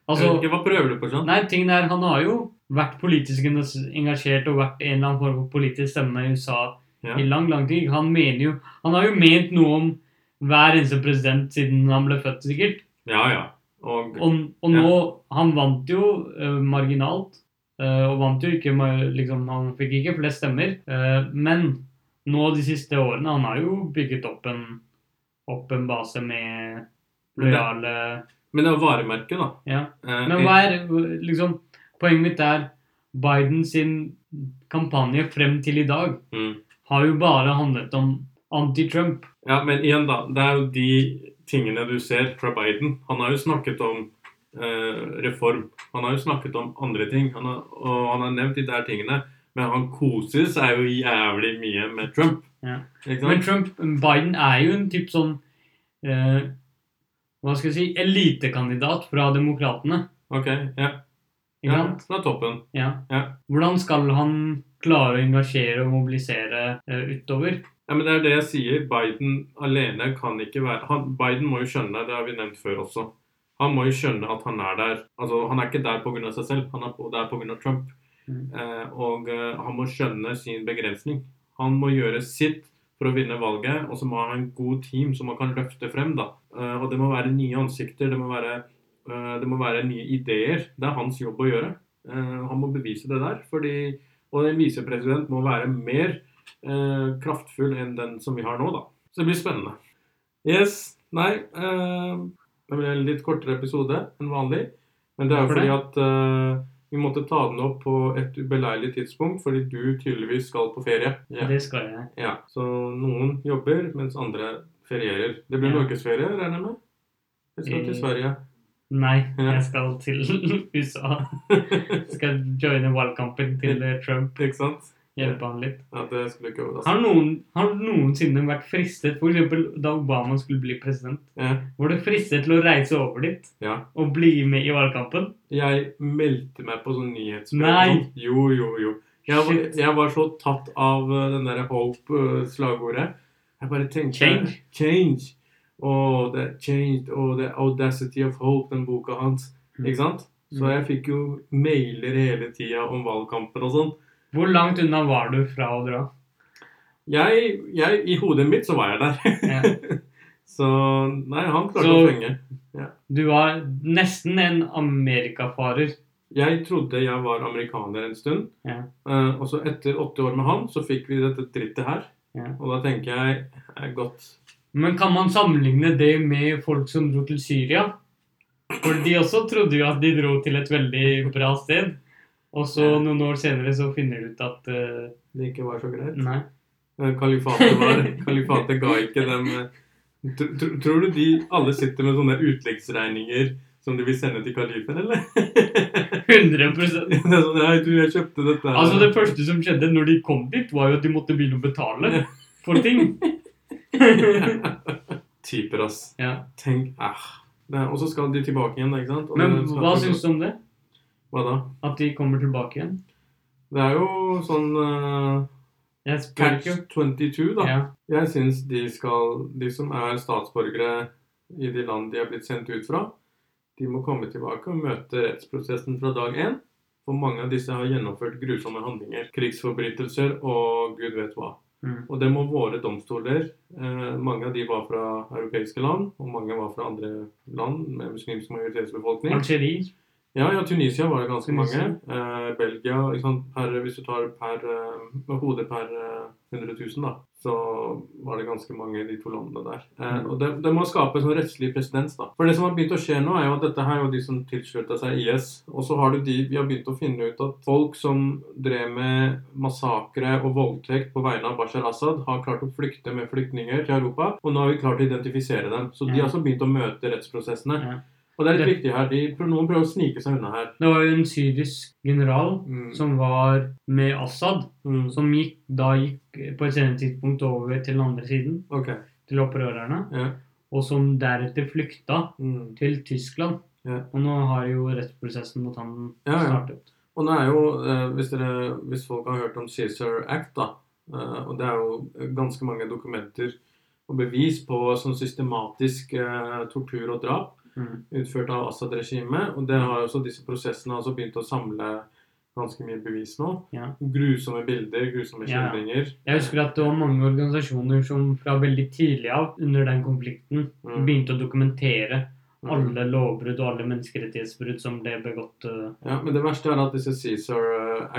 S1: Altså,
S3: vet ikke, Hva prøver du på, John?
S1: Nei, tingen er, han har jo vært politisk engasjert og vært en eller annen form for politisk stemme i USA
S3: Ja.
S1: i lang, lang tid. Han mener jo Han har jo ment noe om hver eneste president siden han ble født, sikkert.
S3: Ja, ja. Og
S1: Og, og nå Han vant jo eh, marginalt. eh, og vant jo ikke ma- liksom, Han fikk ikke flest stemmer. eh, men nå de siste årene Han har jo bygget opp en, opp en base med
S3: Men det-
S1: lojale
S3: Men det er varemerket, da.
S1: Ja.
S3: Eh,
S1: Men hva er liksom Poenget mitt er Biden sin kampanje frem til i dag
S3: mm.
S1: har jo bare handlet om anti-Trump.
S3: Ja, men igjen da, det er jo de tingene du ser fra Biden. Han har jo snakket om eh, reform. Han har jo snakket om andre ting, han har, og han har nevnt de der tingene. Men han koser seg jo jævlig mye med Trump.
S1: Ja.
S3: Ikke
S1: Men
S3: sant?
S1: Trump, Biden er jo en typ sånn eh, Hva skal jeg si Elitekandidat fra Demokratene.
S3: Ok, ja.
S1: Ikke
S3: ja
S1: sant?
S3: fra toppen.
S1: Ja.
S3: Ja.
S1: Hvordan skal han klare å engasjere og mobilisere eh, utover?
S3: Ja, men det er det jeg sier. Biden alene kan ikke være han, Biden må jo skjønne, det har vi nevnt før også. Han må jo skjønne at han er der. Altså, Han er ikke der pga. seg selv, han er på- der pga. Trump.
S1: Mm.
S3: Eh, og eh, han må skjønne sin begrensning. Han må gjøre sitt for å vinne valget, og så må han ha en god team som han kan løfte frem. da. Eh, og det må være nye ansikter, det må være, eh, det må være nye ideer. Det er hans jobb å gjøre. Eh, han må bevise det der. fordi, Og en visepresident må være mer eh, kraftfull enn den som vi har nå, da. Så det blir spennende. Yes. Nei. Eh, det ble en litt kortere episode enn vanlig. Men det er jo
S1: Hvorfor det?
S3: fordi at eh, vi måtte ta den opp på et ubeleilig tidspunkt, fordi du tydeligvis skal på ferie. Ja.
S1: Det skal jeg.
S3: ja. Så noen jobber, mens andre ferierer. Det blir
S1: Ja.
S3: norgesferie, regner jeg med? Jeg skal til
S1: Eh.
S3: Sverige.
S1: Nei, jeg skal til <laughs>
S3: <laughs>
S1: USA. Skal joine valgkampen til eh, Trump.
S3: Ikke sant?
S1: Hjelpe han litt.
S3: Ja, det skulle ikke overraske.
S1: Har noen, har noensinne vært fristet, f.eks. da Obama skulle bli president,
S3: Ja.
S1: var du fristet til å reise over dit
S3: ja.
S1: og bli med i valgkampen?
S3: Jeg meldte meg på sånn nyhetsbrev.
S1: Nei.
S3: Jo, jo, jo. Jeg, var-
S1: Shit.
S3: jeg var så tatt av eh, den der hope-slagordet. Jeg bare tenkte
S1: Change.
S3: Change. Og det change, og the audacity of hope, den boka hans.
S1: Mm.
S3: Ikke sant? Så jeg fikk jo mailer hele tida om valgkampen og sånn.
S1: Hvor langt unna var du fra å dra?
S3: Jeg, jeg, I hodet mitt så var jeg der.
S1: Ja.
S3: <laughs> Så nei, han klarte
S1: Så-
S3: å fenge.
S1: Du var nesten en amerikafarer.
S3: Jeg trodde jeg var amerikaner en stund.
S1: Ja.
S3: Eh, og så etter åtte år med han, så fikk vi dette drittet her.
S1: Ja.
S3: Og da tenker jeg er godt.
S1: Men kan man sammenligne det med folk som dro til Syria? For de også trodde jo at de dro til et veldig bra sted. Og så noen år senere så finner du ut at eh,
S3: Det ikke var så greit.
S1: Nei. <laughs>
S3: Eh, Kalifatet, var, kalifatet ga ikke dem eh, tr tr Tror du de alle sitter med sånne utleggsregninger som de vil sende til kalifen, eller? <laughs>
S1: 100
S3: Det er sånn, Nei, du, jeg kjøpte dette. her».
S1: Altså Det første som skjedde når de kom dit, var jo at de måtte begynne å betale for ting.
S3: Typer, ass.
S1: ja.
S3: Tenk, ah. Det er- Og så skal de tilbake igjen, da, ikke sant? Og
S1: Men
S3: det skal-
S1: hva syns du om det?
S3: Hva da?
S1: At de kommer tilbake igjen?
S3: Det er jo sånn eh,
S1: Jeg spør
S3: Catch
S1: ikke.
S3: 22, da.
S1: Ja.
S3: Jeg syns de skal De som er statsborgere i de land de er blitt sendt ut fra, de må komme tilbake og møte rettsprosessen fra dag én. For mange av disse har gjennomført grusomme handlinger, krigsforbrytelser og gud vet hva.
S1: Mm.
S3: Og det må våre domstoler eh, Mange av de var fra europeiske land, og mange var fra andre land med muslimsk majoritetsbefolkning.
S1: Algerie.
S3: Ja, ja, Tunisia var det ganske
S1: Tunisia.
S3: mange. Eh, Belgia ikke sant? Per, Hvis du tar per, eh, med hodet per eh, 100 000, da, så var det ganske mange i de to landene der. Eh,
S1: Mm.
S3: og det, det må skape en sånn rettslig presedens. da. For det som har begynt å skje nå, er jo at dette her er jo de som tilslutta seg IS. Og så har du de vi har begynt å finne ut at folk som drev med massakre og voldtekt på vegne av Bashar Assad, har klart å flykte med flyktninger til Europa. Og nå har vi klart å identifisere dem. Så de
S1: Ja.
S3: har også begynt å møte rettsprosessene.
S1: Ja.
S3: Og det er litt
S1: Det-
S3: viktig her. De, noen prøver å snike seg unna her.
S1: Det var jo en syrisk general
S3: Mm.
S1: som var med Assad,
S3: Mm.
S1: som gikk, da gikk på et senere tidspunkt over til den andre siden,
S3: Ok.
S1: til opprørerne,
S3: Ja.
S1: og som deretter flykta
S3: Mm.
S1: til Tyskland.
S3: Ja.
S1: Og nå har jo rettsprosessen mot han
S3: Ja, ja.
S1: startet.
S3: Og nå er jo, eh, hvis, dere, hvis folk har hørt om Caesar Act, da, eh, og det er jo ganske mange dokumenter og bevis på sånn systematisk eh, tortur og drap
S1: Mm.
S3: utført av Assad-regimet, og det har jo også disse prosessene har også begynt å samle ganske mye bevis nå.
S1: Ja.
S3: Grusomme bilder, grusomme
S1: Ja, ja.
S3: skildringer.
S1: Jeg husker at det var mange organisasjoner som fra veldig tidlig av, under den konflikten,
S3: Mm.
S1: begynte å dokumentere
S3: Mm.
S1: alle lovbrudd og alle menneskerettighetsbrudd som ble begått. eh,
S3: Ja, men det verste er at disse Caesar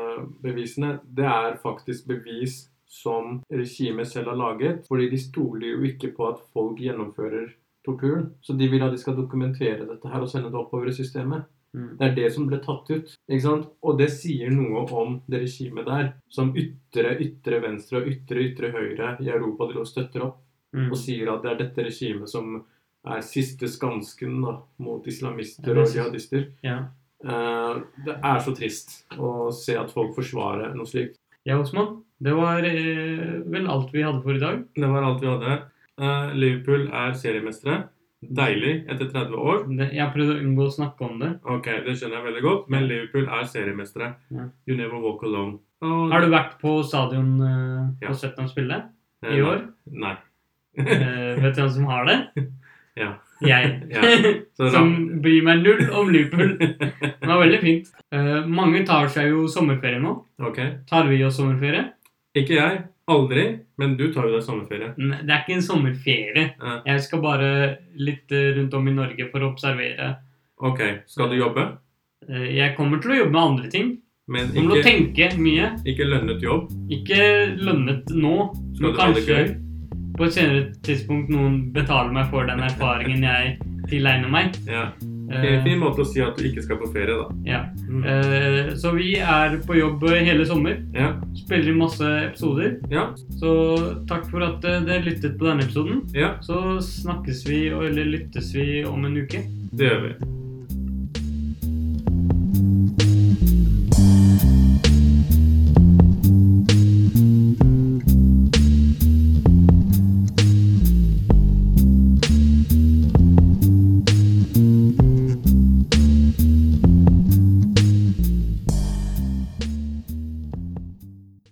S3: Act-bevisene, det er faktisk bevis som regimet selv har laget, fordi de stoler jo ikke på at folk gjennomfører torturen. Så de vil at de skal dokumentere dette her og sende det oppover i systemet.
S1: Mm.
S3: Det er det som ble tatt ut, ikke sant? Og det sier noe om det regimet der, som ytre, ytre venstre og ytre, ytre høyre i Europa driver og støtter opp,
S1: Mm.
S3: og sier at det er dette regimet som er siste skansken da, mot
S1: Ja,
S3: islamister
S1: det
S3: og
S1: synes-
S3: jihadister.
S1: Ja.
S3: Eh, det er så trist å se at folk forsvarer noe slikt.
S1: ja, Osman. Det var eh, vel alt vi hadde for i dag.
S3: Det var alt vi hadde. Eh, Liverpool er seriemestere. Deilig etter 30 år.
S1: Det, jeg prøvde å unngå å snakke om det.
S3: Ok, det skjønner jeg veldig godt, men Liverpool er seriemestere.
S1: Ja.
S3: You never walk alone. Og-
S1: Har du vært på stadion eh,
S3: Ja.
S1: og sett dem spille
S3: Eh,
S1: i år? <laughs>
S3: Nei.
S1: Eh, vet du hvem som har det?
S3: <laughs> Ja. <laughs>
S1: Jeg.
S3: Ja. Så
S1: som
S3: ram-
S1: bryr meg null om
S3: <laughs>
S1: Liverpool. Det var veldig fint. Eh, mange tar seg jo sommerferie nå.
S3: Ok.
S1: Tar vi oss sommerferie?
S3: Ikke jeg. Aldri. Men du tar jo deg sommerferie. Eh,
S1: Nei, Det er ikke en sommerferie.
S3: Ja.
S1: Jeg skal bare litt eh, rundt om i Norge for å observere.
S3: Ok, skal du jobbe?
S1: Eh, Jeg kommer til å jobbe med andre ting.
S3: Men
S1: Kommer til å
S3: ikke,
S1: tenke mye.
S3: ikke lønnet jobb.
S1: Ikke lønnet nå, men
S3: Skal du ha det
S1: kanskje
S3: gøy?
S1: på et senere tidspunkt noen betaler meg for den erfaringen jeg tilegner meg.
S3: Ja.
S1: Eh,
S3: Fin måte å si at du ikke skal på ferie, da.
S1: ja.
S3: Mm.
S1: Eh, Så vi er på jobb hele sommer.
S3: Ja.
S1: Spiller inn masse episoder.
S3: Ja.
S1: Så takk for at eh, dere lyttet på denne episoden.
S3: ja.
S1: Så snakkes vi, eller lyttes vi om en uke.
S3: Det gjør vi.